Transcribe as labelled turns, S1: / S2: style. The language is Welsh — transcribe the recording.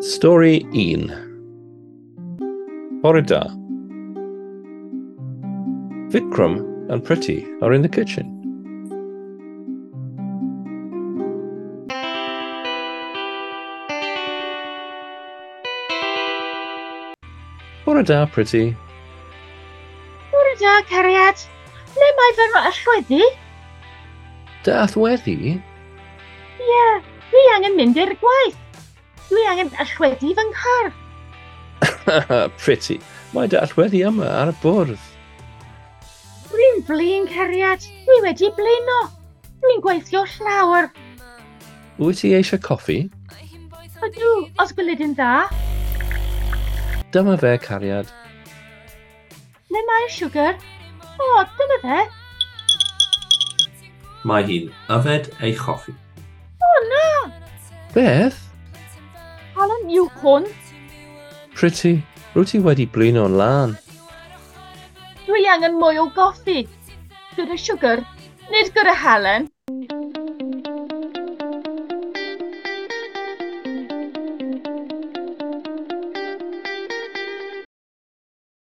S1: Stori 1 Bore da Vikram and Pretty are in the kitchen. Bore da, Pretty.
S2: Bore da, cariad. Ble mae fy allweddi?
S1: Dath weddi?
S2: Ie, dwi angen mynd i'r gwaith. Dwi angen allweddi fy nghar.
S1: Pretty, mae dath weddi yma ar y bwrdd.
S2: Dwi'n flin cariad. Dwi wedi blino. Dwi'n gweithio llawer.
S1: Wyt ti eisiau coffi?
S2: Ydw, os gwylid yn dda,
S1: Dyma fe, cariad.
S2: le mae'r siwgr? O, dyma fe.
S3: Mae hi'n yfed ei choffi.
S2: O, na.
S1: Beth?
S2: Halen yw hwn.
S1: Pretty, rwyt ti wedi blino'n lan.
S2: Dwi angen mwy o goffi. Gyda siwgr, nid gyda halen.